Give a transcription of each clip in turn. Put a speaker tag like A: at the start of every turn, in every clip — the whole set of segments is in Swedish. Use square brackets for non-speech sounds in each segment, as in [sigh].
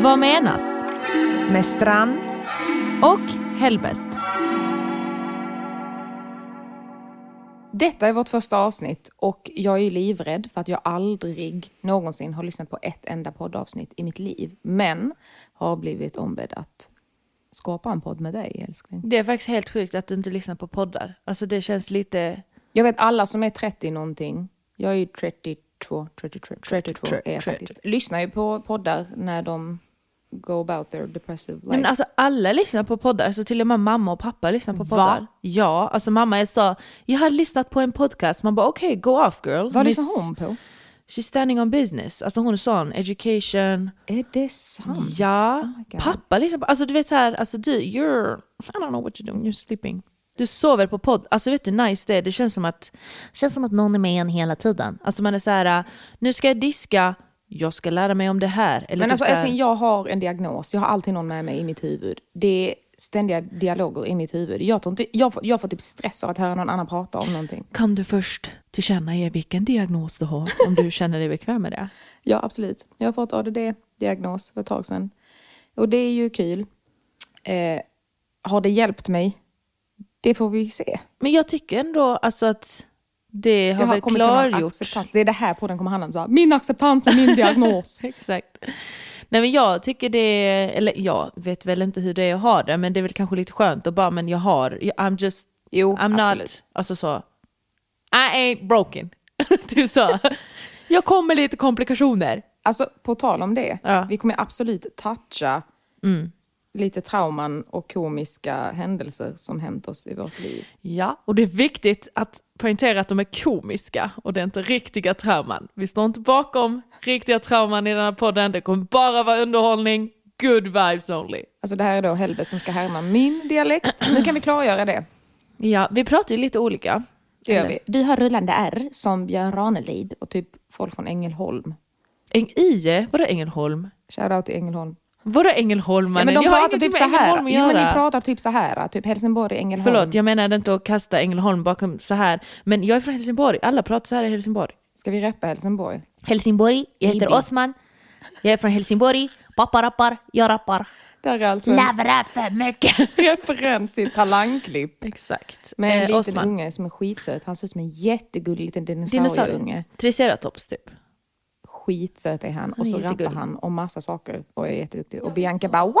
A: Vad menas?
B: med Strand.
A: Och Hellbest.
C: Detta är vårt första avsnitt och jag är ju livrädd för att jag aldrig någonsin har lyssnat på ett enda poddavsnitt i mitt liv. Men har blivit ombedd att skapa en podd med dig älskling.
D: Det är faktiskt helt sjukt att du inte lyssnar på poddar. Alltså det känns lite...
C: Jag vet alla som är 30 någonting, jag är ju 32, 32, 32 är jag faktiskt, lyssnar ju på poddar när de go about their depressive life.
D: Men alltså alla lyssnar på poddar, så till och med mamma och pappa lyssnar på poddar. Ja, alltså mamma sa, jag har lyssnat på en podcast, man bara okej, go off girl. Miss-
C: Vad lyssnar hon på?
D: She's standing on business. Alltså hon är sån, education.
C: Är det sant?
D: Ja,
C: Oh my God.
D: pappa liksom. Alltså du vet så här, alltså du, you're, I don't know what you're doing, you're sleeping. Du sover på podd. Alltså vet du hur nice det är? Det känns som att, känns som att någon är med en hela tiden. Alltså man är så här, nu ska jag diska, jag ska lära mig om det här. Eller
C: Men
D: typ
C: alltså
D: så här,
C: älskling, jag har en diagnos. Jag har alltid någon med mig i mitt huvud. Det är ständiga dialoger i mitt huvud. Jag, tror inte, jag, får, jag får typ stress av att höra någon annan prata om någonting.
D: kan du först tillkännage vilken diagnos du har om du känner dig bekväm med det?
C: Ja, absolut. Jag har fått ADD-diagnos för ett tag sedan. Och det är ju kul. Eh, har det hjälpt mig? Det får vi se.
D: Men jag tycker ändå alltså att det har,
C: Jag
D: väl
C: någon
D: klargjort.
C: acceptans. Det är det här podden kommer handla om. Så här, min acceptans med
D: [laughs]
C: min diagnos.
D: Exakt. Nej men jag tycker det, eller jag vet väl inte hur det är att ha det, men det är väl kanske lite skönt att bara, men jag har, I'm just,
C: Jo,
D: I'm
C: absolut.
D: not, alltså så, I ain't broken. [laughs] typ så. jag kommer lite komplikationer.
C: Alltså, på tal om det.
D: Ja. Mm.
C: Vi kommer absolut toucha lite trauman och komiska händelser som hänt oss i vårt liv.
D: Ja, och det är viktigt att poängtera att de är komiska och det är inte riktiga trauman. Vi står inte bakom riktiga trauman i den här podden, det kommer bara vara underhållning, good vibes only.
C: Alltså det här är då Helbe som ska härma min dialekt. Nu kan vi klargöra det.
D: Ja, vi pratar ju lite olika.
C: Det gör vi. Du har rullande R som Björn Ranelid och typ folk från Ängelholm.
D: Äng- IE, vadå Ängelholm?
C: Shoutout till Ängelholm.
D: Vadå Ängelholmarna?
C: Ja, men de
D: jag
C: pratar typ så här.
D: Ängelholm att
C: Jo, men
D: göra.
C: ni pratar typ så här. Typ Helsingborg, Ängelholm.
D: Förlåt, jag menade inte att kasta Ängelholm bakom så här. Men jag är från Helsingborg, alla pratar så här i Helsingborg.
C: Ska vi rappa Helsingborg?
D: Helsingborg, jag heter Osman. Jag är från Helsingborg. Pappa rappar, jag rappar.
C: Det här är alltså
D: Lavra för mycket.
C: en [laughs] referens till talangklipp.
D: Exakt.
C: Med en
D: Eh,
C: liten
D: Osman.
C: unge som är skitsöt. Han ser ut som en jättegullig liten dinosaurieunge.
D: Dinosaurie. Triceratops typ.
C: Skitsöt är han. Och
D: är
C: så rappar
D: jättegullig.
C: han om massa saker och är jätteduktig. Och Bianca bara wow!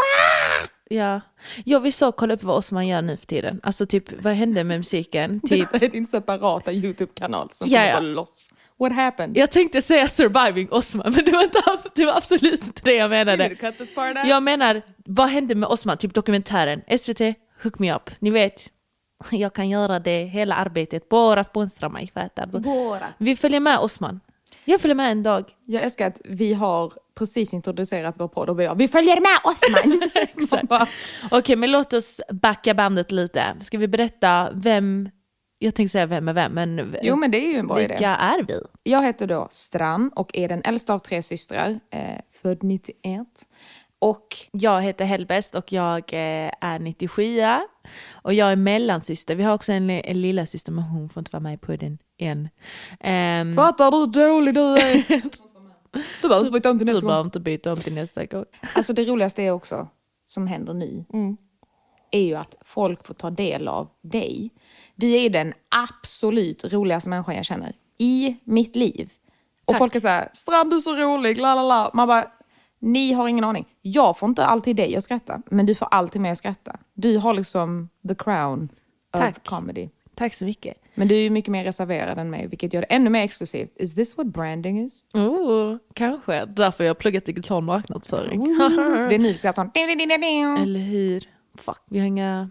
D: Ja. Jag vill så kolla upp vad Osman gör nu för tiden. Alltså typ, vad hände med
C: [laughs]
D: musiken? Typ,
C: Det är din separata YouTube-kanal som
D: Ja,
C: kommer
D: ja.
C: gå loss. What happened?
D: jag tänkte säga surviving Osman, men det var, inte, abs- det var absolut inte det jag menade. Jag menar, vad hände med Osman? Typ dokumentären, SVT, hook me up. Ni vet, [laughs] jag kan göra det hela arbetet, bara sponsra mig. Fattar du?
C: Bara.
D: Vi följer med Osman. Jag följer med en dag.
C: Jag älskar att vi har precis introducerat vår podd och vi har, vi följer med
D: [laughs]
C: Osman! Man bara,
D: Okej, men låt oss backa bandet lite. Ska vi berätta vem, jag tänkte säga vem är vem, men v-
C: jo men det är ju en bra idé.
D: vilka är vi?
C: Jag heter då Stram och är den äldsta av tre systrar, eh, född 91. Och
D: Jag heter Hellbest och jag eh, är 97 och jag är mellansyster. Vi har också en, li- en lilla syster men hon får inte vara med i podden än. Ehm,
C: fattar du hur dålig du är? Du behöver inte byta om till
D: Du
C: nästa
D: behöver
C: gång.
D: inte byta om till nästa gång.
C: Alltså det roligaste är också, som händer nu, är ju att folk får ta del av dig. Du är ju den absolut roligaste människan jag känner i mitt liv. Och folk är så här, Strand du är så rolig, la la la. Man bara, ni har ingen aning. Jag får inte alltid dig att skratta, men du får alltid mig att skratta. Du har liksom the crown of
D: Tack.
C: comedy.
D: Tack så mycket.
C: Men du är ju mycket mer reserverad än mig, vilket gör det ännu mer exklusivt. Is this what branding is?
D: Oh, kanske. Därför jag har pluggat digital marknadsföring. [laughs] Mm.
C: Det är nu vi ska ha sånt... ding, ding, ding, ding, ding.
D: Eller hur? Fuck, vi har inga...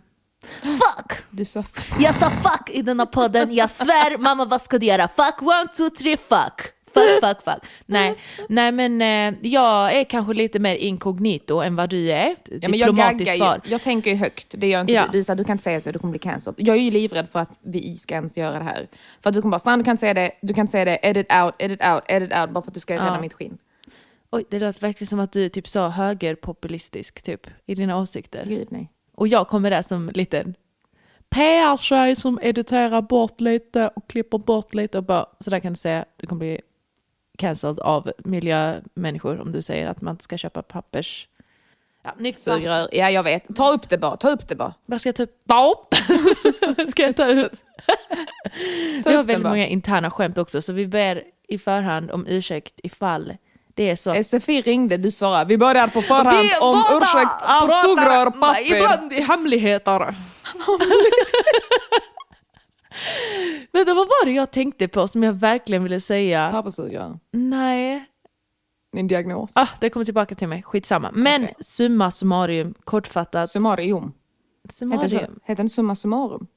E: Fuck!
C: Du sa
E: Jag sa fuck i denna podden, jag svär. Mamma vad ska du göra? Fuck, one, two, three, fuck! Fuck, fuck, fuck.
D: Nej, nej men eh, jag är kanske lite mer inkognito än vad du är.
C: Ja, men jag
D: Diplomatiskt
C: gaggar
D: svar.
C: ju. Jag tänker ju högt. Det gör inte
D: Ja.
C: du. Du, är så här, du kan inte säga så, du kommer bli cancelled. Jag är ju livrädd för att vi ska ens göra det här. För att du kommer bara, Strand du kan inte säga det, du kan inte säga det, edit out, edit out, edit out, bara för att du ska rädda mitt skinn.
D: Oj, det låter verkligen som att du är typ så högerpopulistisk typ, i dina åsikter.
C: Gud nej.
D: Och jag kommer där som liten PR-tjej som editerar bort lite och klipper bort lite och bara, så där kan du säga, du kommer bli cancelled av miljömänniskor om du säger att man inte ska köpa pappers Ja, nyktert.
C: Sugrör. Ja, jag vet. Ta upp det bara. Ta upp det bara.
D: Vad ska jag ta upp? Bop! ska jag ta ut?
C: Ta
D: jag har
C: upp den
D: väldigt
C: bara.
D: många interna skämt också så vi ber i förhand om ursäkt ifall det är så.
C: SFI Eh, ringde, du svarade. Vi börjar på förhand
D: Vi båda
C: om ursäkt av
D: pratar
C: sugrör, papper.
D: Ibland i hemligheter. [laughs] Men då, vad var det jag tänkte på som jag verkligen ville säga?
C: Papperssugrör.
D: Nej,
C: Min diagnos.
D: ah, det kommer tillbaka till mig. Skitsamma. Men summa summarum, kortfattat.
C: Summarium. Heter det, så?
D: Summarium.
C: heter det summa summarum?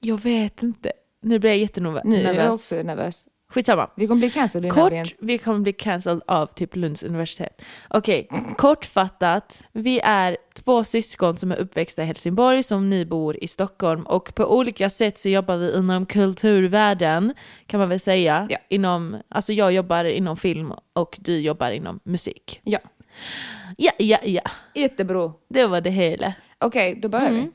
D: Jag vet inte. Nu blir jag jättenervös.
C: Nu är jag också nervös.
D: Skitsamma.
C: Vi kommer bli cancelled innan
D: Kort,
C: vi ens...
D: vi kommer bli cancelled av typ Lunds universitet. Okej, kortfattat. Vi är två syskon som är uppväxta i Helsingborg som nu bor i Stockholm och på olika sätt så jobbar vi inom kulturvärlden kan man väl säga.
C: Ja.
D: Inom, alltså jag jobbar inom film och du jobbar inom musik.
C: Ja.
D: Ja, ja, ja.
C: Jättebra.
D: Det var det hela.
C: Okej, då börjar vi.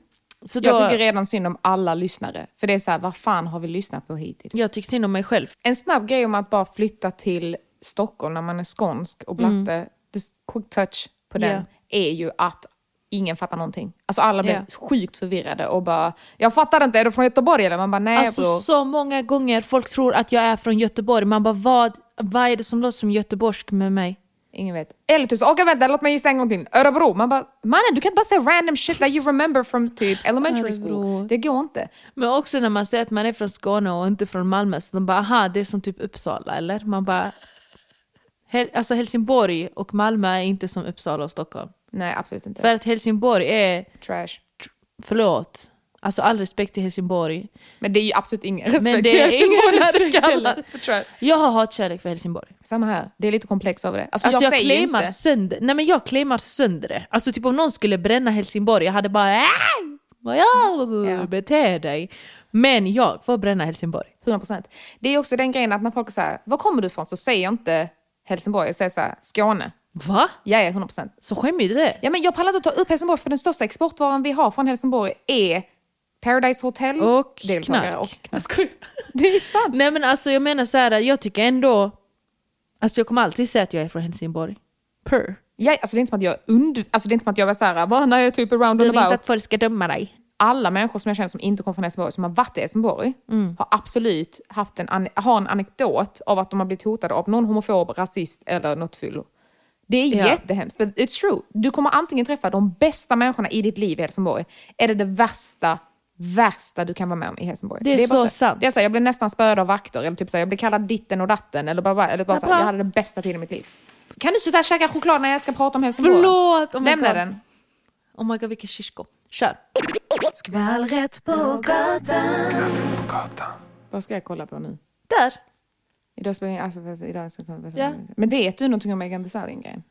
D: Så Mm. då,
C: Jag tycker redan synd om alla lyssnare. För det är så här, vad fan har vi lyssnat på hittills?
D: jag tycker synd om mig själv.
C: En snabb grej om att bara flytta till Stockholm när man är skånsk och blatte, the quick touch på den,
D: Mm. Ja.
C: är ju att ingen fattar någonting. Alltså alla blir
D: Ja.
C: sjukt förvirrade och bara, jag fattar inte, är du från Göteborg eller? Man bara, nej
D: Alltså
C: bror.
D: så många gånger folk tror att jag är från Göteborg. Man bara vad, vad är det som låter som göteborgsk med mig?
C: Ingen vet. Eller typ, så, okej vänta, låt mig gissa en gång till. Örebro. Man bara, mannen du kan inte bara säga random shit that you remember from typ elementary
D: Örebro.
C: school. Det går inte.
D: Men också när man säger att man är från Skåne och inte från Malmö så de bara aha det är som typ Uppsala eller? Man bara Hel- Alltså Helsingborg och Malmö är inte som Uppsala och Stockholm.
C: Nej, absolut inte.
D: För att Helsingborg är,
C: Trash.
D: förlåt, alltså all respekt till Helsingborg.
C: Men det är ju absolut ingen respekt.
D: Men det är ingen
C: Helsingborg när du
D: respekt
C: kallar
D: heller.
C: det för trash.
D: Jag har hatkärlek för Helsingborg.
C: Samma här, det är lite komplex över det. Alltså,
D: Alltså
C: jag,
D: jag,
C: säger ju
D: claimar
C: inte.
D: sönder Nej men jag claimar sönder det. Alltså typ om någon skulle bränna Helsingborg, jag hade bara "Aj, Vad gör du?
C: Ja.
D: Bete dig. Men jag får bränna Helsingborg.
C: 100%. Det är också den grejen att när folk säger var kommer du ifrån? Så säger jag inte Helsingborg, jag säger så här, Skåne.
D: Va?
C: Ja, ja, 100%.
D: Så skämmer du det?
C: Ja, men jag pallar inte att ta upp Helsingborg för den största exportvaran vi har från Helsingborg är Paradise Hotel
D: Och
C: deltagare
D: knark.
C: och knark. Det är ju sant.
D: [laughs] Nej men alltså jag menar så här, jag tycker ändå... Alltså jag kommer alltid säga att jag är från Helsingborg. Per.
C: Ja, alltså, det är inte som att jag und- alltså, det är inte som att jag var så här, vad, nej, jag är typ around
D: Du
C: and
D: vill inte att
C: about.
D: folk ska döma dig.
C: Alla människor som jag känner som inte kommer från Helsingborg, som har varit i Helsingborg,
D: Mm.
C: har absolut haft en, an- har en anekdot av att de har blivit hotade av någon homofob, rasist eller något fyllo. Det är
D: Ja.
C: jättehemskt, men it's true. Du kommer antingen träffa de bästa människorna i ditt liv i Helsingborg, eller det värsta, värsta du kan vara med om i Helsingborg.
D: Det är
C: bara
D: så
C: här.
D: sant.
C: Det är så här, jag blev nästan spöad av vakter, eller typ så här, jag blev kallad ditten och datten, eller bara, bara, eller bara så här,
D: Jaha.
C: jag hade den bästa tiden i mitt liv. Kan du sluta käka choklad när jag ska prata om Helsingborg?
D: Förlåt! Oh my
C: Lämna
D: God.
C: den.
D: Oh my god vilken shishko. Kör!
E: Skvallret på gatan.
C: Vad ska jag kolla på nu?
D: Där!
C: Idag spelar jag alltså, för- idag ska jag
D: Ja.
C: Men vet du någonting om Megan Thee Stallion-grejen?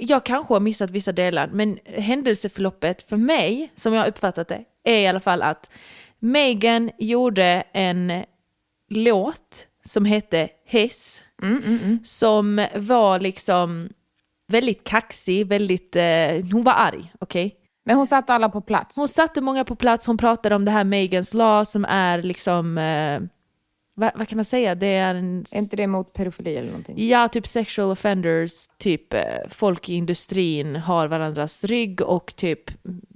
D: jag kanske har missat vissa delar, men händelseförloppet för mig, som jag har uppfattat det, är i alla fall att Megan gjorde en låt som hette Hiss, som var liksom väldigt kaxig, väldigt, eh, hon var arg, okej?
C: Men hon satte alla på plats.
D: Hon satte många på plats, hon pratade om det här Megans lag som är liksom, eh, vad, vad kan man säga, det är en...
C: Är inte det mot pedofili eller någonting?
D: Ja, typ sexual offenders, typ eh, folk i industrin har varandras rygg och typ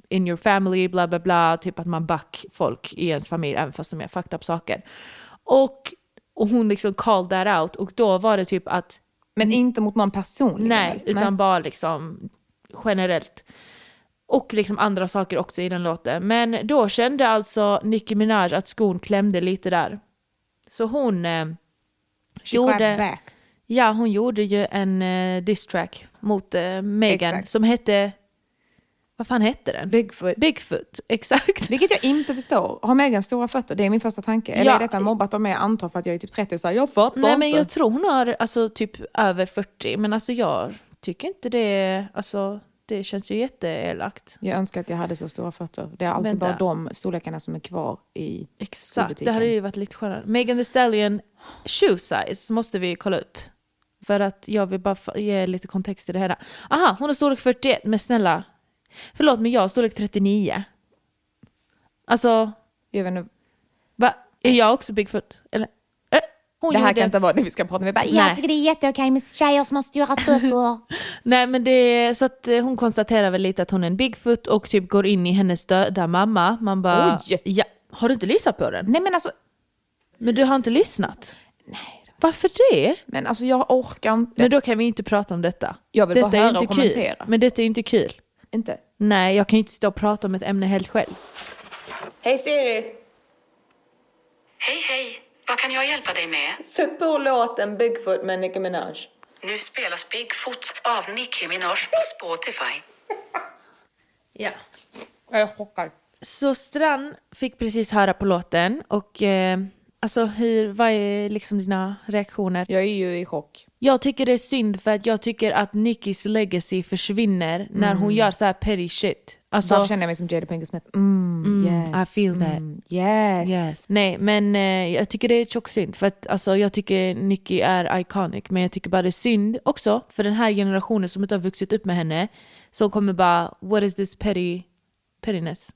D: in your family, bla bla bla, typ att man back folk i ens familj även fast de gör fucked up saker. Och, och hon liksom called that out och då var det typ att
C: Men inte mot någon personligen?
D: nej,
C: väl?
D: utan bara liksom generellt. Och liksom andra saker också i den låten. Men då kände alltså Nicki Minaj att skon klämde lite där. Så hon eh,
C: She clapped
D: gjorde-
C: Back.
D: Ja, hon gjorde ju en uh, diss track mot eh, Megan
C: Exakt.
D: som hette... Vad fan hette den?
C: Bigfoot.
D: Bigfoot, [laughs] exakt.
C: Vilket jag inte förstår. Har Megan stora fötter? Det är min första tanke. Eller
D: Ja.
C: är detta mobbat av mig? Jag antar för att jag är typ 30 och säger jag fattar
D: Nej men
C: inte.
D: jag tror hon har alltså, typ över 40, men alltså jag tycker inte det... Alltså, det känns ju jätteelakt.
C: Jag önskar att jag hade så stora fötter. Det är alltid
D: Vänta.
C: bara de storlekarna som är kvar i...
D: Exakt, det
C: Skolbutiken.
D: hade ju varit lite skönare. Megan Thee Stallion, shoe size måste vi kolla upp. För att jag vill bara fa- ge lite kontext till det här. Aha, hon har storlek 41, men snälla. Förlåt, men jag har storlek 39. Alltså,
C: Jag vet inte,
D: Va? Är jag också Bigfoot? Eller? Äh, Hon
C: det här
D: gjorde-
C: kan inte vara det vi ska prata om. Vi bara,
D: Nej.
C: jag tycker det är jätteokej med tjejer som har stora fötter.
D: Nej men det är så att eh, hon konstaterar väl lite att hon är en bigfoot och typ går in i hennes döda mamma. Man bara...
C: Oj.
D: Ja, har du inte lyssnat på den?
C: Nej men alltså,
D: Men du har inte lyssnat? Nej. Varför det?
C: men alltså jag orkar inte.
D: Men då kan vi inte prata om detta.
C: Jag vill
D: detta
C: bara
D: är
C: höra
D: inte
C: och
D: kul.
C: kommentera.
D: Men detta är inte kul.
C: inte.
D: Nej, jag kan ju inte sitta och prata om ett ämne helt själv.
B: Hej Siri!
F: Hej, hej! Vad kan jag hjälpa dig med?
B: Sätt på låten Bigfoot med Nicki Minaj.
F: Nu spelas Bigfoot av Nicki Minaj på Spotify.
D: Ja.
C: Jag orkar.
D: Så Strand fick precis höra på låten och eh, alltså hur, vad är liksom dina reaktioner?
C: Jag är ju i chock.
D: Jag tycker det är synd för att jag tycker att Nickis legacy försvinner när hon gör så här petty shit.
C: Varför
D: Alltså,
C: känner jag mig som Jada Pinkett Smith? Mm, yes.
D: I feel that.
C: Mm, yes.
D: yes. Nej men eh, jag tycker det är tjockt synd för att alltså, jag tycker Nicky är iconic men jag tycker bara det är synd också för den här generationen som inte har vuxit upp med henne som kommer bara what is this petty pettiness?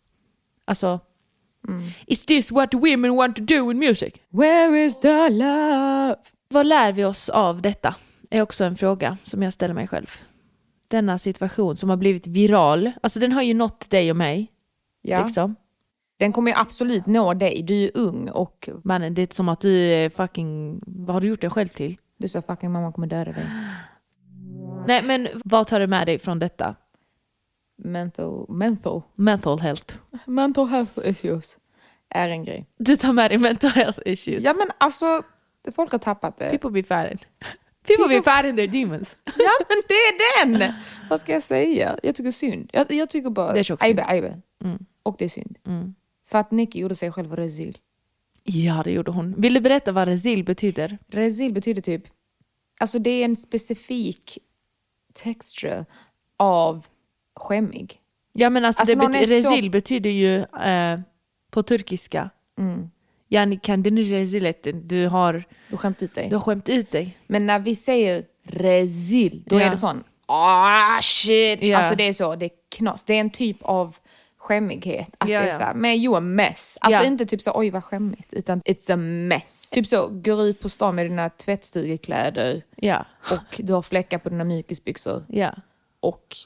D: Alltså is this what women want to do in music?
C: Mm. Where is the love?
D: Vad lär vi oss av detta? Är också en fråga som jag ställer mig själv. Denna situation som har blivit viral, alltså den har ju nått dig och mig.
C: Ja.
D: Liksom.
C: Den kommer ju absolut nå dig. Du är ju ung och
D: Mannen, det är inte som att du är fucking, vad har du gjort dig själv till?
C: du sa fucking mamma kommer döda dig.
D: Nej men vad tar du med dig från detta?
C: Mental, mental,
D: Mental health.
C: mental health issues är en grej.
D: Du tar med dig mental health issues.
C: Ja men alltså, folk har tappat [laughs] det.
D: People be fighting. People be fighting their demons.
C: Ja men det är den! Vad ska jag säga? Jag tycker synd. Jag, jag tycker bara...
D: Det är tjockt synd.
C: Aibe, aibe. Och det är synd. För att Nicky gjorde sig själv resil.
D: Ja det gjorde hon. Vill du berätta vad resil betyder?
C: Resil betyder typ... Alltså det är en specifik texture av skämmig.
D: Ja men alltså,
C: Alltså,
D: det
C: någon
D: bety-
C: är så-
D: rezil betyder ju eh, på turkiska. Mm. Yani kendini rezil ettin. Du har,
C: Du har skämt ut dig.
D: du har skämt ut dig.
C: Men när vi säger resil, då
D: Ja.
C: är det sån... Ah shit!
D: Ja.
C: Alltså det är så, det är knas. Det är en typ av skämmighet. Att
D: Ja,
C: det är
D: ja.
C: så här, men you a mess. Alltså
D: Ja.
C: inte typ så, oj vad skämmigt, utan it's a mess. Typ så, går ut på stan med dina tvättstugekläder
D: Ja.
C: och du har fläckar på dina mjukisbyxor
D: ja.
C: och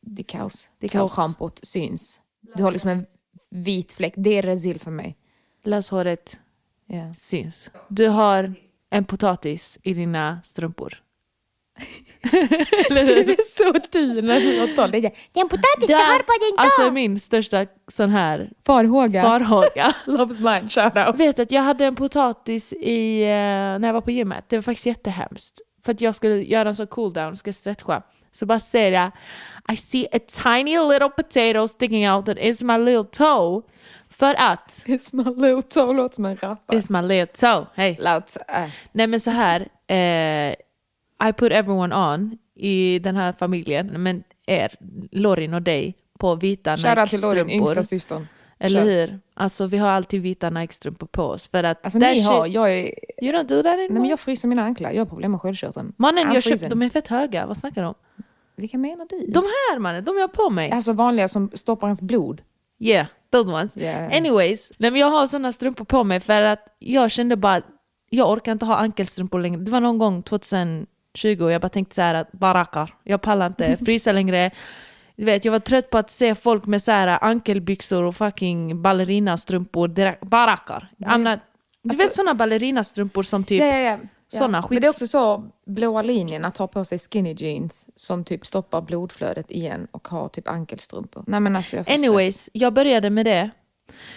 C: det är kaos.
D: Det är kaos.
C: Tårschampot syns. Du har liksom en vit fläck. Det är resil för mig.
D: Löshåret
C: Ja.
D: syns. Du har en potatis i dina strumpor.
C: Det är så du när du har tolv. Det är en potatis,
D: alltså min största sån här
C: Farhåga. [laughs]
D: farhåga.
C: Love's blind, shout out.
D: Vet du att jag hade en potatis i, eh, när jag var på gymmet. Det var faktiskt jättehemskt. För att jag skulle göra en sån cool down, ska stretcha. Så bara säger jag I see a tiny little potato sticking out that is my little toe. För att...
C: It's my little toe låter som en rappare.
D: It's my little toe, hej.
C: Loud, äh.
D: Nej men så här. Eh, I put everyone on i den här familjen. Men er, Lorin och dig på vita
C: Shoutout till Lorin,
D: Nike-strumpor.
C: yngsta systern.
D: Eller
C: Kör.
D: hur? Alltså vi har alltid vita Nike-strumpor på oss. För att
C: Alltså
D: that
C: ni
D: shit-
C: har, jag är...
D: You don't do that
C: Nej
D: anymore.
C: men jag Alltså, fryser mina anklar, jag har problem med sköldkörteln.
D: Mannen,
C: I'm
D: jag köpt,
C: freezing.
D: de är fett höga. Vad snackar du om?
C: Vilka menar du?
D: De här mannen, de jag har på mig.
C: Alltså vanliga som stoppar ens blod.
D: Yeah, those ones.
C: Yeah.
D: Anyways, nej, men jag har sådana strumpor på mig för att jag kände bara jag orkar inte ha ankelstrumpor längre. Det var någon gång 2020 och jag bara tänkte så här att barakar, jag pallar inte
C: [laughs]
D: frysa längre. Du vet, jag var trött på att se folk med så här ankelbyxor och fucking ballerinastrumpor. direkt- Barakar. I'm not, du vet sådana ballerinastrumpor som typ...
C: Alltså- Ja, ja, ja. Ja.
D: Såna
C: Men
D: skit-
C: det är också så, blåa linjen att ta på sig skinny jeans som typ stoppar blodflödet igen och har typ ankelstrumpor. Nej men alltså jag får stress.
D: Anyways, jag började med det.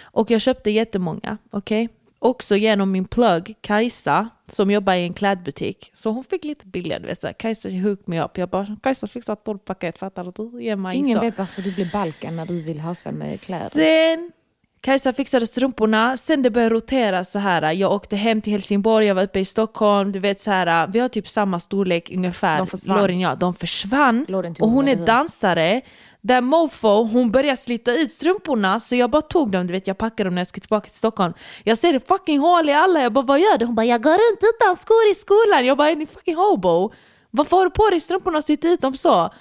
D: Och jag köpte jättemånga, okej? Också genom min plugg, Kajsa, som jobbar i en klädbutik. Så hon fick lite billigare, du vet så här, Kajsa hook me up. Jag bara, Kajsa fixa ett paket, fattar du? Ge mig
C: Ingen
D: så.
C: vet varför du blir balkan när du vill hassa med kläder.
D: Sen Kajsa fixade strumporna, sen det började rotera så här. Jag åkte hem till Helsingborg, jag var uppe i Stockholm, du vet så här. Vi har typ samma storlek ungefär.
C: De försvann.
D: Lorin, ja, de försvann.
C: Lorin tog
D: Och hon
C: dem,
D: är
C: eller hur?
D: dansare. Där mofo, hon började slita ut strumporna så jag bara tog dem, du vet jag packade dem när jag ska tillbaka till Stockholm. Jag ser det fucking hål i alla, jag bara vad gör du? Hon bara jag går runt utan skor i skolan. Jag bara är ni fucking hobo? Varför har du på dig strumporna och sliter ut dem så?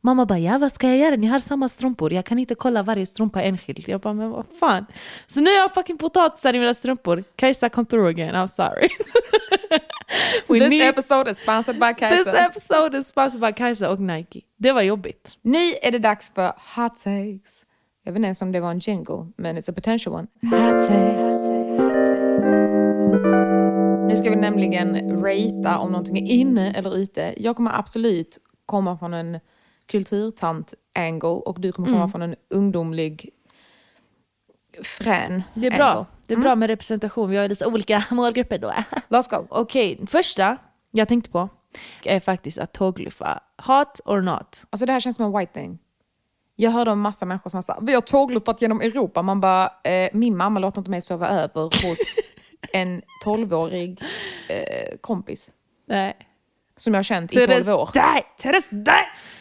D: Mamma bara, ja vad ska jag göra? Ni har samma strumpor. Jag kan inte kolla varje strumpa enskilt. Jag bara, men vad fan. Så nu har jag fucking potatisar i mina strumpor. Kajsa come through again, I'm sorry. [laughs] We
G: This
D: need-
G: episode is sponsored by Kajsa.
D: This episode is sponsored by Kajsa och Nike. Det var jobbigt.
C: Nu är det dags för hot takes. Jag vet inte ens om det var en jingle, men it's a potential one. Hot takes. Nu ska vi nämligen ratea om någonting är inne eller ute. Jag kommer absolut komma från en kulturtant-angle och du kommer komma
D: Mm.
C: från en ungdomlig frän
D: Det är bra.
C: angle.
D: Det är bra med representation. Vi har ju lite olika [laughs] målgrupper då.
C: Let's go.
D: Okej, första jag tänkte på är faktiskt att tågluffa. Hot or not?
C: Alltså det här känns som en white thing. Jag hörde om massa människor som sa vi har tågluppat genom Europa. Man bara, eh, min mamma låter inte mig sova över
D: [laughs]
C: hos en tolvårig eh, kompis
D: Nej.
C: som jag har känt i tolv år.
D: Nej, Therese, nej!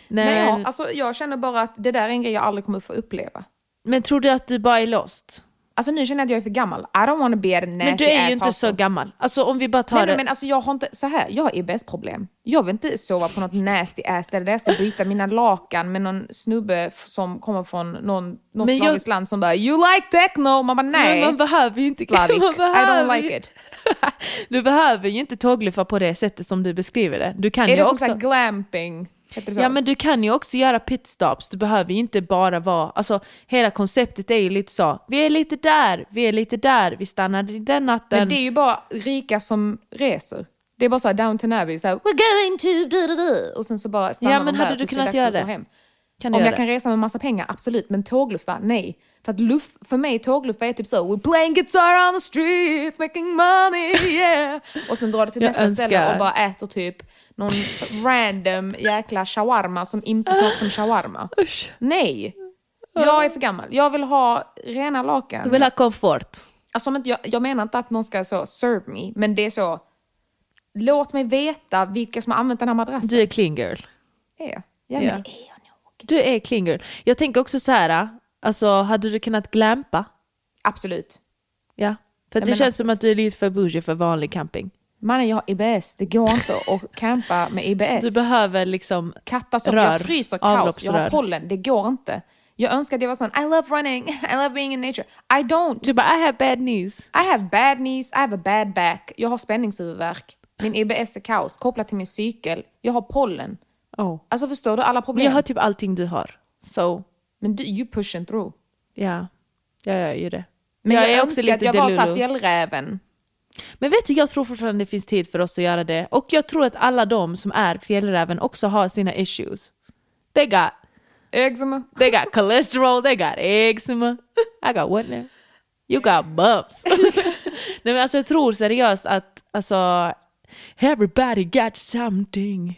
C: Nej,
D: Nej,
C: ja, alltså, jag känner bara att det där är en grej jag aldrig kommer få uppleva.
D: Men tror du att du bara är lost?
C: Alltså nu känner jag att jag är för gammal. I don't wanna be at a nasty
D: Men du är
C: ass
D: ju inte så
C: household.
D: gammal. Alltså om vi bara tar
C: Nej,
D: det.
C: nej, men alltså jag har inte, så här, jag har E IBS-problem. Jag vill inte sova på något nasty ass ställe där jag ska byta mina lakan med någon snubbe f- som kommer från någon, någon
D: Men jag-
C: slaviskt land som bara “You like techno?” Man bara nej.
D: Men man behöver ju inte...
C: Slavic.
D: [laughs] man
C: I don't like
D: ju-
C: it.
D: [laughs] du behöver ju inte tågluffa på det sättet som du beskriver det. Du kan
C: Är
D: ju
C: det som
D: också...
C: så här glamping? Heter det så?
D: Ja men du kan ju också göra pitstops, du behöver ju inte bara vara, alltså hela konceptet är ju lite så, vi är lite där, vi är lite där, vi stannade den natten.
C: Men det är ju bara rika som reser. Det är bara så här Downton Abbey, så här, “We're going to...” du, du, du", Och sen så bara stannar
D: Ja,
C: de
D: men
C: där
D: hade du
C: tills det är
D: kunnat
C: dags
D: göra
C: att gå
D: det?
C: Hem.
D: kan du
C: Om
D: göra
C: jag
D: det?
C: kan resa med massa pengar, absolut. Men tågluffa, nej. För, att luff, för mig tågluffa är typ så, we're playing guitar on the streets, making money, yeah. Och sen drar det till
D: Jag
C: nästa ställe
D: önskar.
C: och bara äter typ någon random jäkla shawarma som inte smakar som shawarma.
D: [laughs] Usch.
C: Nej! Jag är för gammal. Jag vill ha rena lakan.
D: Du vill ha komfort?
C: Alltså, om inte jag, jag menar inte att någon ska så serve me, men det är så, låt mig veta vilka som har använt den här madrassen.
D: Du är clean girl.
C: Är jag? Ja,
D: Ja.
C: men det är jag nog.
D: Du är clean girl. Jag tänker också så här, alltså hade du kunnat glampa?
C: Absolut.
D: Ja. För att
C: Jag
D: det
C: menar-
D: känns som att du är lite för bougie för vanlig camping.
C: Mannen, jag har IBS. Det går inte [laughs] att campa med
D: Du
C: IBS.
D: behöver liksom...
C: Katastrof.
D: rör.
C: Jag fryser kaos. Jag
D: Avloppsrör.
C: har pollen. Det går inte. Jag önskar att jag var sån, I love running, [laughs] I love being in nature. I don't.
D: Du bara I have bad news.
C: I have bad knees, I have a bad back. Jag har spänningshuvudvärk. Min IBS är kaos kopplat till min cykel. Jag har pollen.
D: Oh.
C: Alltså förstår du alla
D: Men
C: problem?
D: jag har typ allting du har. So,
C: Men du, you pushing through.
D: ja. Jag gör ju det.
C: Men jag,
D: är
C: önskar att jag var
D: delulu.
C: såhär fjällräven.
D: Men vet du, jag tror fortfarande det finns tid för oss att göra det. Och jag tror att alla de som är fjällräven också har sina issues. They got,
C: Eczema.
D: they got cholesterol, they got eczema. I got what now? You got bumps. [laughs] Nej men alltså jag tror seriöst att alltså everybody got something.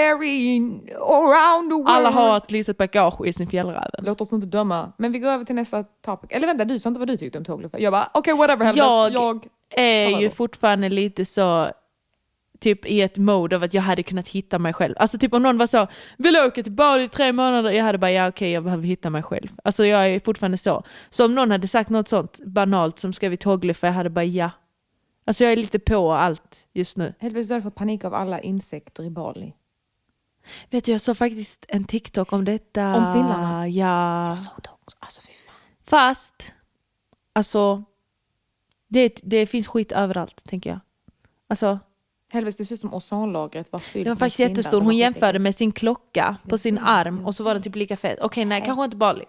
C: Carrying around the world.
D: Alla har ett litet bagage i sin fjällräven.
C: Låt oss inte döma. Men vi går över till nästa topic. Eller vänta, du sa inte vad du tyckte om tågluffar. Jag bara, okej whatever. Helvest.
D: Jag-
C: jag...
D: är
C: Ta
D: ju
C: över.
D: fortfarande lite så typ i ett mode av att jag hade kunnat hitta mig själv. Alltså typ om någon var så, vill du åka till Bali i tre månader? Jag hade bara, ja okej jag behöver hitta mig själv. Alltså jag är fortfarande så. Så om någon hade sagt något sånt banalt som ska vi tågluffa? Jag hade bara ja. Alltså jag är lite på allt just nu.
C: Helt plötsligt har du fått panik av alla insekter i Bali.
D: Vet du jag såg faktiskt en TikTok om detta.
C: Om spindlarna?
D: Ja.
C: Såg du också? Alltså fy fan.
D: Fast, alltså det, det finns skit överallt tänker jag. Alltså
C: Helvete, det ser ut som ozonlagret var fyllt
D: Den var
C: med
D: faktiskt
C: spindlar.
D: jättestor.
C: Det var
D: Hon jämförde
C: skitäckligt.
D: med sin klocka på sin arm och så var den typ lika fet. Okej, nej, kanske inte Bali.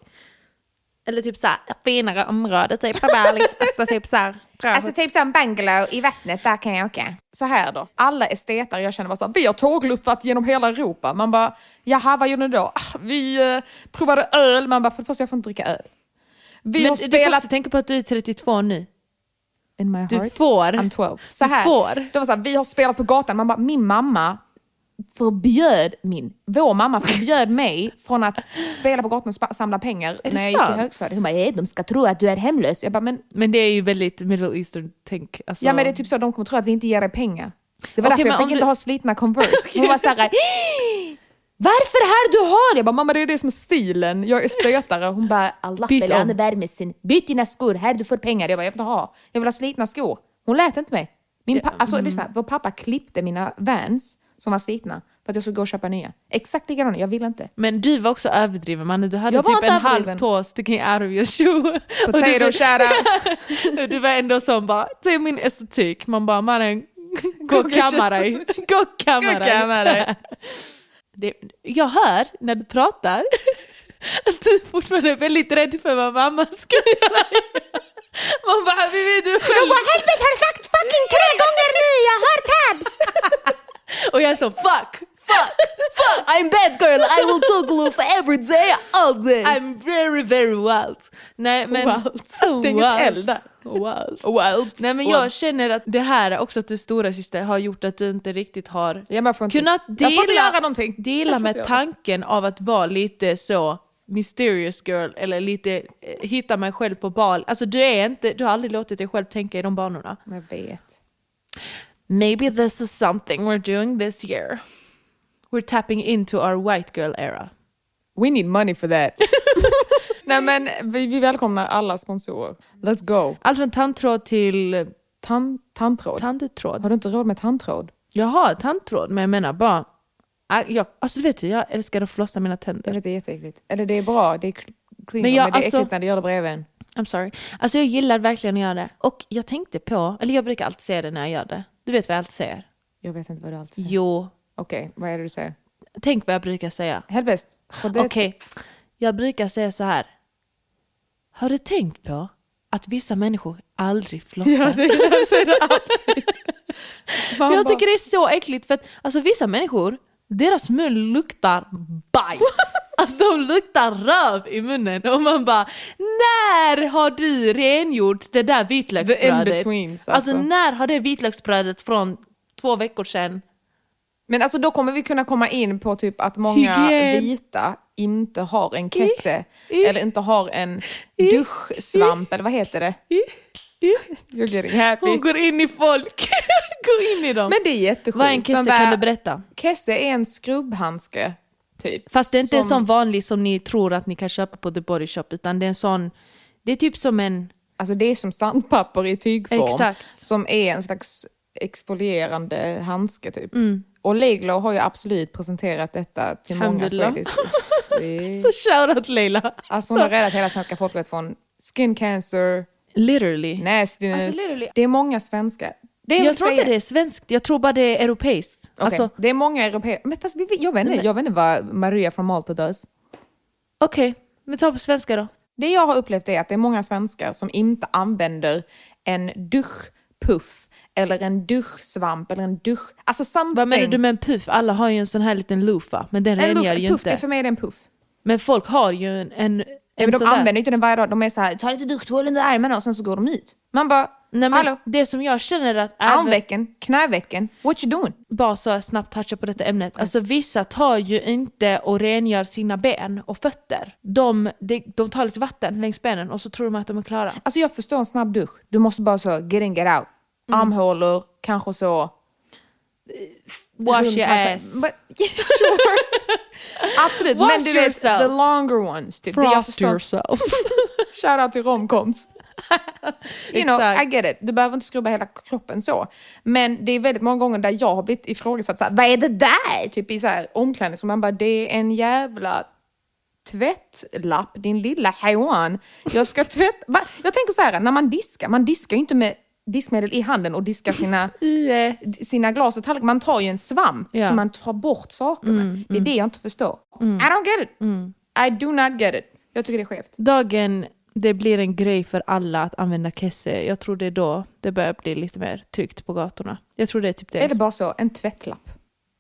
D: Eller typ såhär, finare område, typ på Bali.
C: [laughs]
D: alltså typ såhär, bra.
C: Alltså typ som bungalow i vattnet, där kan jag åka. Så här då, alla esteter jag känner var så här, vi har tågluffat genom hela Europa. Man bara, jaha vad gjorde ni då? "Ah, Vi eh, provade öl. Man bara, för det första jag får inte dricka öl. Vi
D: men
C: har
D: du får
C: spelat
D: också tänka på att du är 32 nu.
C: In my heart.
D: Du får.
C: I'm 12. Så här.
D: Du får.
C: Det var så här, vi har spelat på gatan. Man bara, min mamma förbjöd min, vår mamma förbjöd mig från att spela på gatan och spa- samla pengar
D: det
C: när jag gick
D: sant?
C: i högstadiet. Hon bara, "Eh, de ska tro att du är hemlös. Jag bara, men,
D: Men det är ju väldigt middle eastern tänk. Alltså,
C: ja men det är typ så, de kommer tro att vi inte ger dig pengar. Det var
D: Okej,
C: därför
D: men
C: jag
D: om
C: fick
D: du-
C: inte ha slitna Converse. Hon var så här, "Eh, varför har du har det? Jag bara, mamma det är det som är stilen, jag är estetare. Hon bara, Allah
D: Byt om.
C: belöne värmesin, byt dina skor, här du får pengar. Jag bara, jag vill inte ha, jag vill ha slitna skor.
D: Mm.
C: Hon lät inte mig. Min pa- alltså, lyssna, vår pappa klippte mina Vans som var slitna för att för att jag skulle gå och köpa nya. Exakt likadana, jag vill inte.
D: Men du var också överdriven mannen, du hade
C: Jag var
D: typ en
C: inte
D: halv
C: överdriven.
D: tå sticking out of your shoe. [laughs] Och
C: [laughs]
D: du-
C: Potato shout-out!
D: Och [laughs] du var ändå sån bara, ta min estetik. Man
E: [laughs]
D: bara, mannen, gå och kamma dig. [laughs] Gå och kamma dig. [laughs] Det- Jag hör när du pratar [laughs] att du fortfarande är väldigt rädd för vad
E: [laughs]
D: mamma ska säga. Man bara, vi vet du själv.
C: Helvete har du sagt fucking tre gånger nu! Jag har [laughs] tabs!
D: Och jag är så, fuck,
E: I'm bad girl, I will talk loof every day, all day.
D: I'm very very wild. Nej men... [laughs] Wild. Oh,
E: Tänk ett L
D: wild. Wild. wild. Nej men jag känner att det här också att du är stora syster har gjort att du inte riktigt har
C: Ja, men jag får inte-
D: kunnat
C: jag
D: dela,
C: får inte göra någonting.
D: dela
C: Jag får inte
D: med
C: göra
D: tanken av att vara lite så mysterious girl eller lite eh, hitta mig själv på bal. Alltså du är inte, du har aldrig låtit dig själv tänka i de banorna.
C: Jag vet.
D: Maybe this is something we're doing this year. We're tapping into our white girl era.
C: We need money
D: [laughs]
C: for that. Nej men vi, vi välkomnar alla sponsorer. Let's go.
D: Allt från Alltså, tandtråd till
C: Tan, tandtråd.
D: tandtråd.
C: har du inte råd med tandtråd?
D: Jag har tandtråd men jag menar bara... Ah, Jag, alltså vet du, jag älskar att flossa mina
C: Jag
D: tänder.
C: vet, det är jätteäckligt. Eller det är bra, det är kl- klingar,
D: Men
C: men,
D: jag-
C: det är
D: alltså-
C: äckligt när det gör det bredvid en.
D: I'm sorry. Alltså jag gillar verkligen att göra det. Och jag tänkte på, eller jag brukar alltid säga det när jag gör det. Du vet vad jag alltid säger?
C: Jag vet inte vad du alltid säger.
D: Jo,
C: Okej, vad är det du säger?
D: tänk vad jag brukar säga.
C: Helvest. Har det-
D: Okej, jag brukar säga så här. Har du tänkt på att vissa människor aldrig flossar?
C: Fan,
D: jag
C: vad-
D: tycker det är så äckligt för att alltså, vissa människor, deras mun luktar [laughs] bajs. Alltså de luktar röv i munnen och man bara när har du rengjort det där
C: The
D: vitlöksbrödet?
C: in-betweens,
D: alltså.
C: alltså.
D: när har det vitlöksbrödet från två veckor sedan?
C: Men alltså då kommer vi kunna komma in på typ att många
D: Hygien.
C: vita inte har en kesse
D: I-
C: eller inte har en duschsvamp eller vad heter det? You're getting happy.
D: Hon [laughs] går in i folk. [laughs] går in i dem.
C: Men det är jättesjukt.
D: Vad är en kisse
C: De bara-
D: kan du berätta?
C: Kesse är en skrubbhandske. Typ.
D: Fast det är inte en
C: Som-
D: sån vanlig som ni tror att ni kan köpa på The Body Shop utan det är en sån, det är typ som en
C: Alltså det är som sandpapper i tygform.
D: Exakt.
C: Som är en slags exfolierande handske typ.
D: Mm.
C: Och Leglo har ju absolut presenterat detta till många.
D: [laughs]
C: Så är det, ju-
D: Så shoutout Leila!
C: alltså hon har räddat hela svenska folket från skin cancer,
D: Literally.
C: nastiness.
D: Alltså, literally.
C: det är många svenskar. Det
D: jag tror inte det är svenskt, jag tror bara det är europeiskt. Alltså,
C: Alltså, det är många europeer. Men fast vi, vi- jag vet inte, jag vet inte vad Maria från Malta does.
D: Okej, men ta på svenska då.
C: Det jag har upplevt är att det är många svenskar som inte använder en duschpuff eller en duschsvamp eller en dusch... Alltså something.
D: Vad menar du med en puff? Alla har ju en sån här liten loofah, men den
C: en
D: rengör ju
C: dusch, puff, det är
D: inte.
C: för mig är det en puff.
D: Men folk har ju en, en,
C: Men
D: en
C: de
D: sån
C: använder
D: där.
C: inte den varje dag. De är så här, ta lite duschtvål under armarna och sen så går de ut. Man bara,
D: Nej, men
C: hallå,
D: Det som jag känner att... även-
C: armvecken, knävecken, what you doing?
D: bara så här snabbt toucha på detta ämnet. Alltså vissa tar ju inte och rengör sina ben och fötter. De, de, de tar lite vatten längs benen och så tror de att de är klara.
C: Alltså jag förstår en snabb dusch. Du måste bara så, get in, get out.
D: Mm.
C: Armhålor, kanske så... eh,
D: Wash your
C: Runt-
D: ass.
C: But, [laughs] sure. Absolut,
D: Wash
C: men du vet,
D: yourself.
C: the longer ones. Typ. Det jag
D: Frost
C: förstår inte-
D: yourself. [laughs]
C: Shoutout till romcoms. You know,
D: Exakt.
C: I get it. Du behöver inte skrubba hela kroppen så. Men det är väldigt många gånger där jag har blivit ifrågasatt. Så här, Vad är det där? Typ i så här omklädningsrum. Man bara, det är en jävla tvättlapp, din lilla hajuan. Jag ska tvätta. Va? Jag tänker så här, när man diskar, man diskar ju inte med diskmedel i handen och diskar sina,
D: Yeah.
C: sina glas och tallrikar. Man tar ju en svamp
D: Ja. Mm,
C: som man tar bort saker med. det är det jag inte förstår. I don't get it. I do not get it. Jag tycker det är skevt.
D: Dagen det blir en grej för alla att använda kesse, jag tror det är då det börjar bli lite mer tryggt på gatorna. Jag tror det är typ det.
C: Eller bara så, en tvättlapp.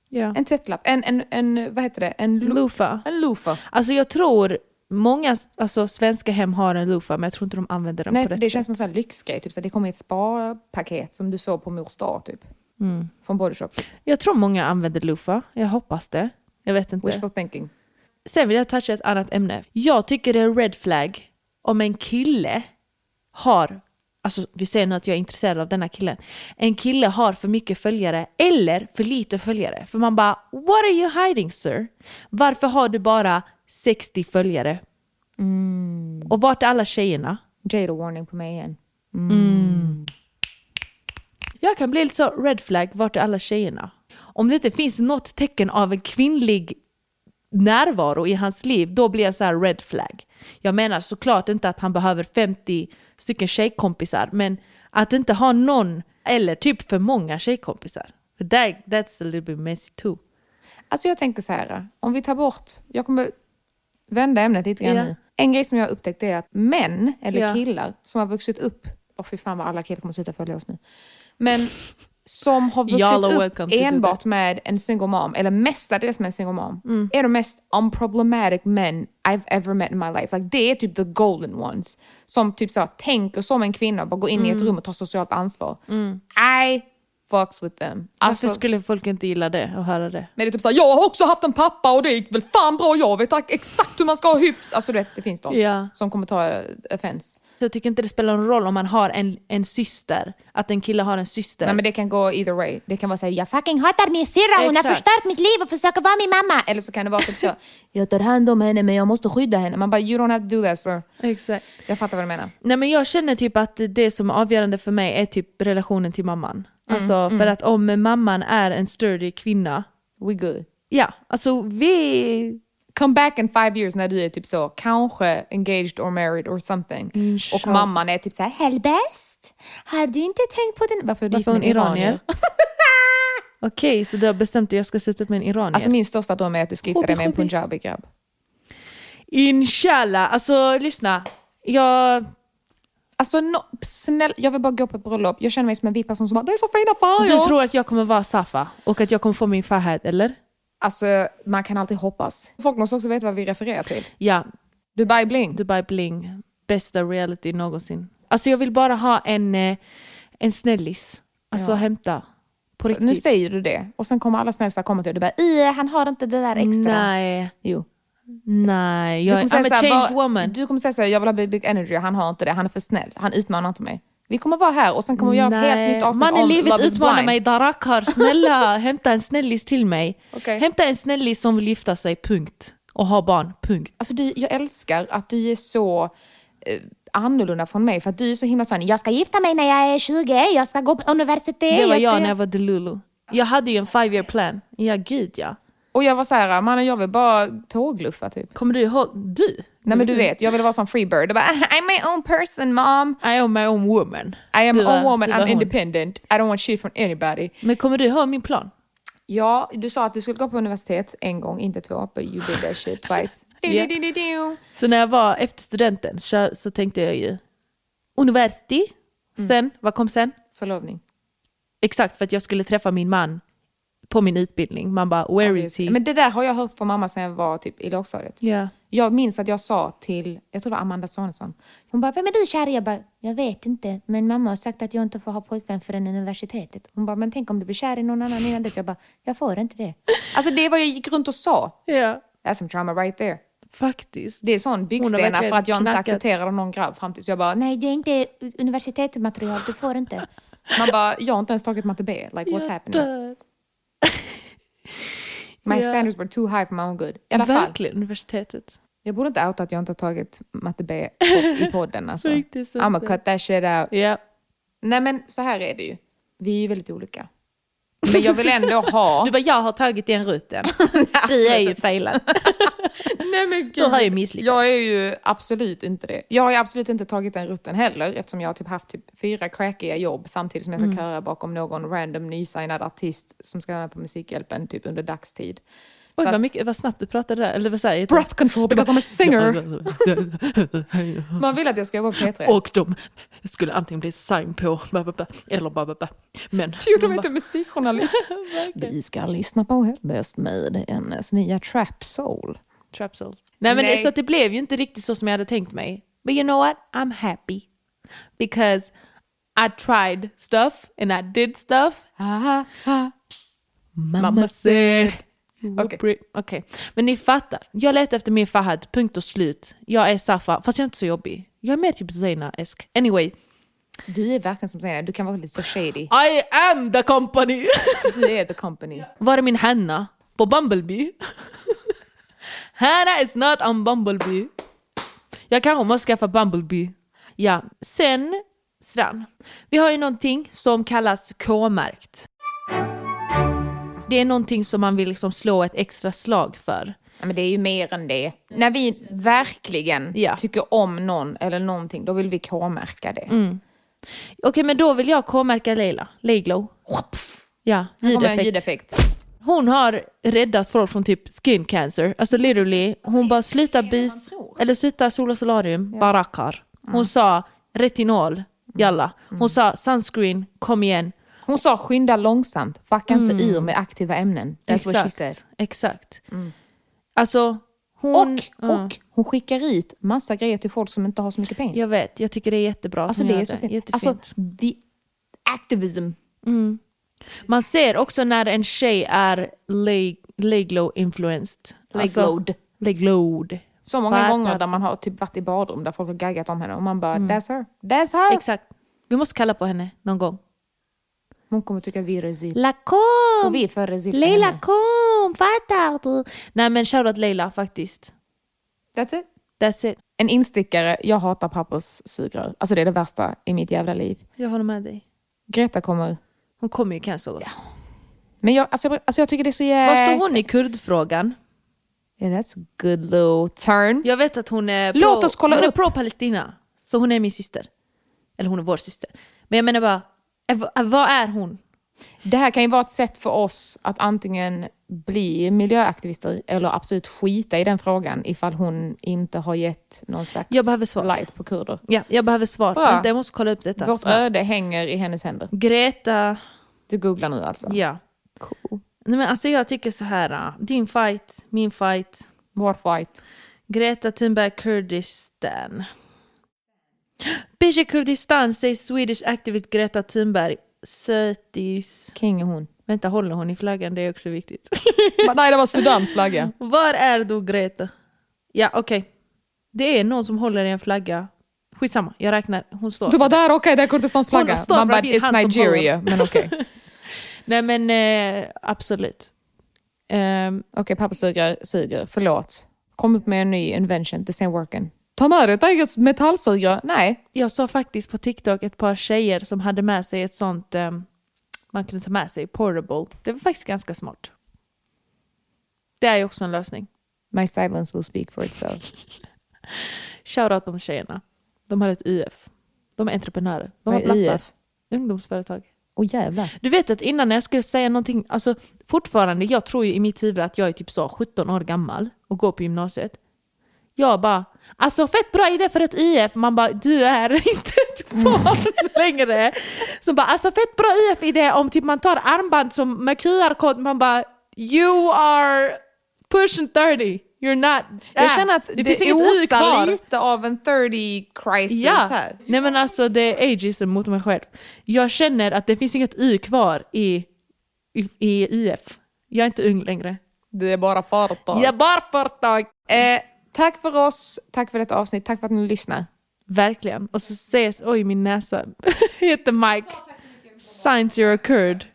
D: ja.
C: En tvättlapp, en, en, en vad heter det? En, lo-
D: Loofah.
C: en loofah.
D: Alltså jag tror många alltså, svenska hem har en loofah men jag tror inte de använder den
C: Nej,
D: på
C: för
D: rätt
C: det
D: sätt.
C: känns som en sån här lyxgrej. Typ, så här, det kommer i ett sparpaket som du får på mors dag typ. Från typ. Body Shop.
D: Jag tror många använder loofah, jag hoppas det. Jag vet inte.
C: Wishful thinking.
D: Sen vill jag toucha ett annat ämne. Jag tycker det är red flag om en kille har, alltså vi säger nu att jag är intresserad av denna killen, en kille har för mycket följare eller för lite följare. För man bara, what are you hiding sir? Varför har du bara 60 följare? Och vart är alla tjejerna?
C: Jada warning på mig igen.
D: Jag kan bli lite så red flag, vart är alla tjejerna? om det inte finns något tecken av en kvinnlig närvaro i hans liv, då blir jag så här red flag. Jag menar såklart inte att han behöver 50 stycken tjejkompisar, men att inte ha någon, eller typ för många tjejkompisar. För That, that's a little bit messy too.
C: Alltså jag tänker så här, om vi tar bort, jag kommer vända ämnet lite grann
D: Ja.
C: nu. En grej som jag har upptäckt är att män, eller
D: Ja.
C: killar, som har vuxit upp, åh fy fan vad alla killar kommer sluta följa oss nu. Men som har
D: Y'all are
C: vuxit upp
D: welcome to do
C: enbart med en single mom, eller mestadels med en single mom,
D: Mm.
C: är de mest unproblematic men I've ever met in my life. Like, det är typ the golden ones. Som typ så här, tänker som en kvinna, bara går in
D: Mm.
C: i ett rum och tar socialt ansvar. I fucks with them. Alltså,
D: Varför skulle folk inte gilla det och höra det?
C: Men det är typ såhär, jag har också haft en pappa och det gick väl fan bra, jag vet exakt hur man ska ha hyfs. Alltså du vet, det finns de
D: Ja.
C: som kommer ta eh, offense.
D: Så jag tycker inte det spelar någon roll om man har en, en syster, att en kille har en syster.
C: Nej men det kan gå either way. Det kan vara såhär, jag fucking hatar min syrra, hon har
D: Exakt.
C: förstört mitt liv och försöker vara min mamma. Eller så kan det vara typ
D: [laughs]
C: så, jag tar hand om henne men jag måste skydda henne. Man bara, you don't have to do that sir.
D: Exakt.
C: Jag fattar vad du menar.
D: Nej men jag känner typ att det som är avgörande för mig är typ relationen till mamman.
C: Mm,
D: alltså för att om mamman är en sturdy kvinna,
C: We good.
D: ja alltså vi...
C: Come back in five years när du är typ så, kanske engaged or married or something.
D: Mm,
C: och mamman är typ såhär, helbäst, har du inte tänkt på den? Varför, är du gift
D: Varför är hon
C: med en
D: iranier? Okej, så du har bestämt dig att jag ska sätta upp med en iranier?
C: Alltså min största dröm är att du ska gifta dig med en
D: Hobby, hobby.
C: punjabi-grabb.
D: Inshallah! Alltså lyssna, jag...
C: Alltså no, snälla, jag vill bara gå på ett bröllop. Jag känner mig som en vit person som bara, det är så fina
D: Du
C: färger.
D: tror att jag kommer vara Safa och att jag kommer få min farhad, eller?
C: Alltså man kan alltid hoppas. Folk måste också veta vad vi refererar till.
D: Ja,
C: Dubai bling.
D: Dubai Bling, bästa reality någonsin. Alltså jag vill bara ha en, eh, en snällis. Alltså hämta. På riktigt.
C: Nu säger du det och sen kommer alla snälla komma till dig och du bara, "Ih, han har inte det där extra.
D: Nej,
C: Jo.
D: nej.
C: Du
D: Jag,
C: kommer säga
D: I'm a
C: så här,
D: changed
C: "Vad-
D: woman.
C: Du kommer säga såhär, jag vill ha big dick energy, han har inte det, han är för snäll, han utmanar inte mig. Vi kommer vara här och sen kommer vi göra ett helt nytt avsnitt
D: Man i
C: om
D: livet
C: Love is
D: utmanar
C: blind.
D: mig,
C: [laughs]
D: Darakar. Snälla, hämta en snällis till mig.
C: Okej.
D: Hämta en snällis som vill gifta sig, punkt. Och ha barn, punkt.
C: Alltså du, jag älskar att du är så eh, annorlunda från mig för att du är så himla sån, jag ska gifta mig när jag är 20, jag ska gå på universitet.
D: Det var
C: ska...
D: jag när jag var Delulu. Jag hade ju en five year plan. Ja, gud ja.
C: Och jag var så här, mannen jag vill bara tågluffa typ.
D: Kommer du ihåg? Du?
C: Nej men du
D: Mm.
C: vet, jag vill vara som freebird. Jag bara, "Ah, I'm my own person mom.
D: I am my own woman.
C: I am
D: Du
C: a
D: var-
C: woman,
D: du var
C: I'm
D: hon.
C: independent. I don't want shit from anybody.
D: Men kommer du ihåg min plan?
C: Ja, du sa att du skulle gå på universitet en gång, inte två. But you did that
D: [laughs]
C: shit twice. Du,
D: Ja.
C: du, du, du, du.
D: Så när jag var efter studenten så, så tänkte jag ju university.
C: Mm.
D: Sen, vad kom sen?
C: Förlovning.
D: Exakt, för att jag skulle träffa min man på min utbildning. Man bara, where is he?
C: Men det där har jag hört från mamma sedan jag var typ i lågstadiet.
D: Ja.
C: Jag minns att jag sa till, jag tror det var Amanda Sonesson. Hon bara, vem är du kär i?" Jag bara, jag vet inte. Men mamma har sagt att jag inte får ha pojkvän förrän universitetet. Hon bara, men tänk om du blir kär i någon annan innan dess. Jag bara, jag får inte det. [laughs] Alltså det är vad jag gick runt och sa.
D: ja,
C: That's some trauma right there.
D: faktiskt.
C: Det är sån byggstena
D: verkligen
C: för att jag inte
D: knackat.
C: accepterade någon grabb fram tills jag bara, nej det är inte universitetsmaterial, du får inte. Man bara, jag har inte ens tagit matte B. Like what's happening?
D: dör.
C: My
D: Ja.
C: standards were too high for my own good. I alla fall,
D: Verkligen, universitetet.
C: jag borde inte outa att jag inte har tagit matte B på- i
D: [laughs]
C: podden alltså.
D: Faktiskt
C: I'm
D: inte.
C: gonna cut that shit out.
D: Ja.
C: Nej men så här är det ju. Vi är ju väldigt olika. Men jag vill ändå ha...
D: Du bara, jag har tagit den
C: [laughs]
D: rutten. [laughs] Du är ju failad.
C: Nej, men gud.
D: Du har ju misslyckats.
C: Jag är ju absolut inte det. Jag har ju absolut inte tagit den rutten heller eftersom jag har typ haft typ fyra crackiga jobb samtidigt som jag ska köra bakom någon random nysignad artist som ska vara med på Musikhjälpen typ under dagstid.
D: Oj,
C: Så
D: vad,
C: att-
D: mycket, vad snabbt du pratade där. Eller vad säger jag?
C: Breath control because I'm a singer. Man vill att jag ska jobba på [laughs] P3.
D: [laughs] Och de skulle antingen bli sign på ba, ba, ba, eller ba, ba, ba. Men
C: Gud, de är inte [laughs] musikjournalist. Vi ska lyssna på Hellbest med hennes nya Trap Soul.
D: Trap soul. Nej men
C: Nej.
D: Det, så att det blev ju inte riktigt så som jag hade tänkt mig. But you know what? I'm happy. Because I tried stuff and I did [laughs] stuff. Mamma, said you were
C: Okej.
D: pretty- Okej, men ni fattar. Jag letar efter min Fahad, punkt och slut. Jag är Safa, fast jag är inte så jobbig. Jag är mer typ Zeina-esk. Anyway,
C: Du är verkligen som säger du kan vara lite så shady.
D: I am the company! [laughs]
C: Du är the company.
D: Var är min Hanna? På Bumblebee? [laughs] Hanna is not on Bumblebee. Jag kanske måste skaffa Bumblebee. Ja, sen Strand. Vi har ju någonting som kallas K-märkt. det är någonting som man vill liksom slå ett extra slag för.
C: Ja, men det är ju mer än det. När vi verkligen
D: Ja.
C: tycker om någon eller någonting, då vill vi k-märka det.
D: Mm. Okej, men då vill jag k-märka Leila. Leglow. Ja,
C: Här kommer en
D: ljudeffekt.
C: ljudeffekt.
D: Hon har räddat folk från typ skin cancer. Alltså literally, hon bara sluta bis, eller sluta sola solarium, barakar. Hon
C: Mm.
D: sa retinol, jalla. Hon sa sunscreen, kom igen.
C: Hon sa skynda långsamt, fucka inte ur med aktiva ämnen. That's what she said.
D: Mm.
C: Mm.
D: Exakt. Exakt. Alltså, hon...
C: Och,
D: Ja.
C: och hon skickar ut massa grejer till folk som inte har så mycket pengar.
D: Jag vet, jag tycker det är jättebra. att
C: Alltså
D: hon
C: det
D: gör
C: är så fint.
D: Jättefint.
C: Alltså, the activism.
D: Man ser också när en tjej är leglow-influenced. Alltså,
C: Leglowed.
D: leglowed.
C: Så många
D: Fattar Mm.
C: gånger
D: inte.
C: där man har typ varit i badrum där folk har gaggat om henne och man bara that's her, that's her.
D: Exakt. Vi måste kalla på henne någon gång.
C: Hon kommer tycka vi är resil.
D: La kom!
C: Och vi är för resil för
D: Leila
C: henne.
D: kom, fattar du? Nej men shoutout Leila faktiskt.
C: That's it.
D: That's it.
C: En instickare, jag hatar pappers sugrör. Alltså det är det värsta i mitt jävla liv.
D: Jag håller med dig.
C: Greta kommer.
D: Hon kommer ju cancel oss.
C: Men jag, alltså, jag, alltså jag tycker det är så jävla...
D: Var står hon i kurdfrågan?
C: Yeah, that's a good little turn.
D: Jag vet att hon är
C: Låt
D: pro-
C: oss kolla
D: hon är
C: upp.
D: pro-Palestina. Så hon är min syster. Eller hon är vår syster. Men jag menar bara, eh, v- eh, vad är hon?
C: Det här kan ju vara ett sätt för oss att antingen bli miljöaktivister eller absolut skita i den frågan ifall hon inte har gett någon slags
D: Jag behöver svar.
C: light på kurder.
D: Ja, jag behöver svar.
C: Bra.
D: Vänta, jag måste kolla upp detta.
C: Vårt
D: snabbt.
C: öde hänger i hennes händer.
D: Greta,
C: Du googlar nu alltså?
D: ja.
C: Cool.
D: Nej, men alltså jag tycker så här. eh, din fight, min fight.
C: Vår fight.
D: Greta Thunberg Kurdistan. Bisha Kurdistan sägs Swedish activist Greta Thunberg. Sötis.
C: King är hon.
D: Vänta, håller hon i flaggan? Det är också viktigt.
C: [laughs] Nej, det var Sudans flagga.
D: Var är då Greta? Ja, okej. Det är någon som håller i en flagga. Skitsamma, jag räknar. Hon står.
C: var där, okej, det är Kurdistans
D: flagga. Hon står Man bara, bredvid "It's han som Nigeria", håller.
C: men okej.
D: Nej men eh, absolut. Ehm,
C: Okej, pappa suger, suger. Förlåt. Kom upp med en ny invention. This ain't working. Ta med dig ett eget metallsugrör. Nej.
D: jag såg faktiskt på TikTok ett par tjejer som hade med sig ett sånt ehm, man kunde ta med sig, portable. Det var faktiskt ganska smart. Det är ju också en lösning.
C: My silence will speak for itself.
D: Shoutout de tjejerna. De har ett UF. De är entreprenörer. De
C: Vad
D: har
C: är
D: plattar.
C: IF?
D: Ungdomsföretag.
C: Åh jävlar.
D: Du vet att innan när jag skulle säga någonting, alltså fortfarande, jag tror ju i mitt huvud att jag är typ så 17 år gammal och går på gymnasiet. Jag bara, alltså fett bra idé för ett IF, man bara du är [laughs] inte ett barn längre. Så bara, alltså fett bra IF-idé om typ man tar armband som med QR-kod, man bara you are pushing 30, you're not.
C: Jag
D: Äh,
C: känner att det,
D: finns inget U
C: osar
D: kvar.
C: lite av en 30 crisis
D: Ja,
C: här.
D: nej men alltså det är ageism mot mig själv. Jag känner att det finns inget Y kvar i, i, i IF. Jag är inte ung längre.
C: Det är bara företag.
D: Jag är bara företag!
C: Eh, tack för oss. Tack för detta avsnitt. Tack för att ni lyssnar.
D: Verkligen. Och så ses, oj min näsa [laughs] heter Mike. Science you're a kurd.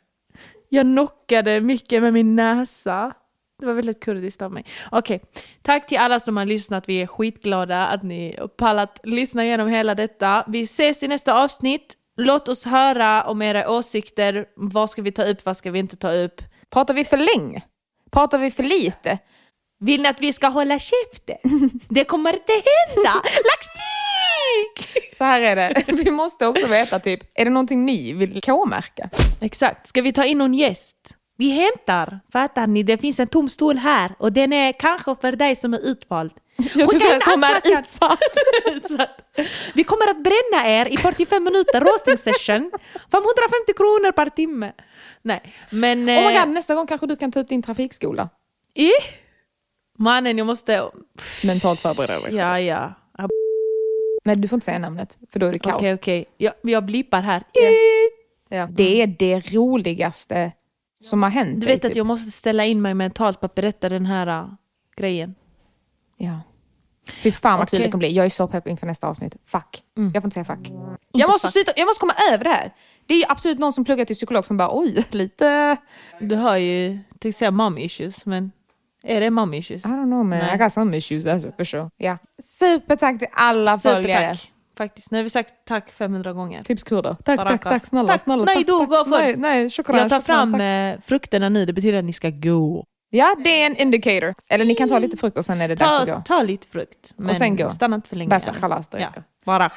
D: Jag knockade mycket med min näsa. Det var väldigt kurdiskt av mig. Okej, tack till alla som har lyssnat. Vi är skitglada att ni har pallat lyssna igenom hela detta. Vi ses i nästa avsnitt. Låt oss höra om era åsikter. Vad ska vi ta upp? Vad ska vi inte ta upp?
C: Pratar vi för länge? Pratar vi för lite?
D: Vill ni att vi ska hålla käften? Det kommer inte hända! Laxtik!
C: Så här är det. [laughs] Vi måste också veta typ, är det någonting ni vill k-märka?
D: Exakt. Ska vi ta in någon gäst? Vi hämtar. Fattar ni? Det finns en tom stol här och den är kanske för dig som är utvald.
C: Jag tror
D: Skicka in
C: säga som är
D: ansökan.
C: utsatt.
D: [laughs] Utsatt. Vi kommer att bränna er i 45 minuter roasting session. 550 kronor per timme. Nej, men...
C: Oh my
D: eh,
C: God, nästa gång kanske du kan ta ut din trafikskola.
D: ih. Mannen, jag måste...
C: Mentalt förbereda dig.
D: Ja, ja. Ab-
C: Nej, du får inte säga namnet, för då är det kaos.
D: Okej, okej. Jag, jag blippar här.
C: Ja. Det är det roligaste som har hänt.
D: Du
C: dig,
D: vet att
C: typ.
D: jag måste ställa in mig mentalt på att berätta den här eh, grejen.
C: Ja. Fy fan vad kul
D: Okej. Mm.
C: det kommer bli. Jag är så pepp inför nästa avsnitt. Fuck. Jag får inte säga fuck. Jag måste, sluta, jag måste komma över det här. Det är ju absolut någon som pluggar till psykolog som bara oj, [laughs] lite...
D: Du har ju, tänkte säga mom issues, men är det mom
C: Ah,
D: issues?
C: I don't know man, I got some issues that's for sure. Ja. Supertack till alla följare.
D: Supertack Faktiskt. Nu har vi sagt tack 500 gånger.
C: Tips kurder. Tack, tack,
D: Baraka.
C: tack. Snälla, snälla.
D: Nej,
C: tack,
D: du
C: tack.
D: går först.
C: Nej, nej, choklad,
D: Jag tar
C: choklad,
D: fram
C: tack.
D: eh, frukterna nu, det betyder att ni ska gå.
C: Ja, det är en indicator. Eller ni kan ta lite frukt och sen är det dags att
D: Ta,
C: gå.
D: ta lite frukt, men
C: sen gå.
D: stanna inte för länge.
C: Basta, khalas, det
D: ja.
C: räcker.
D: Bara.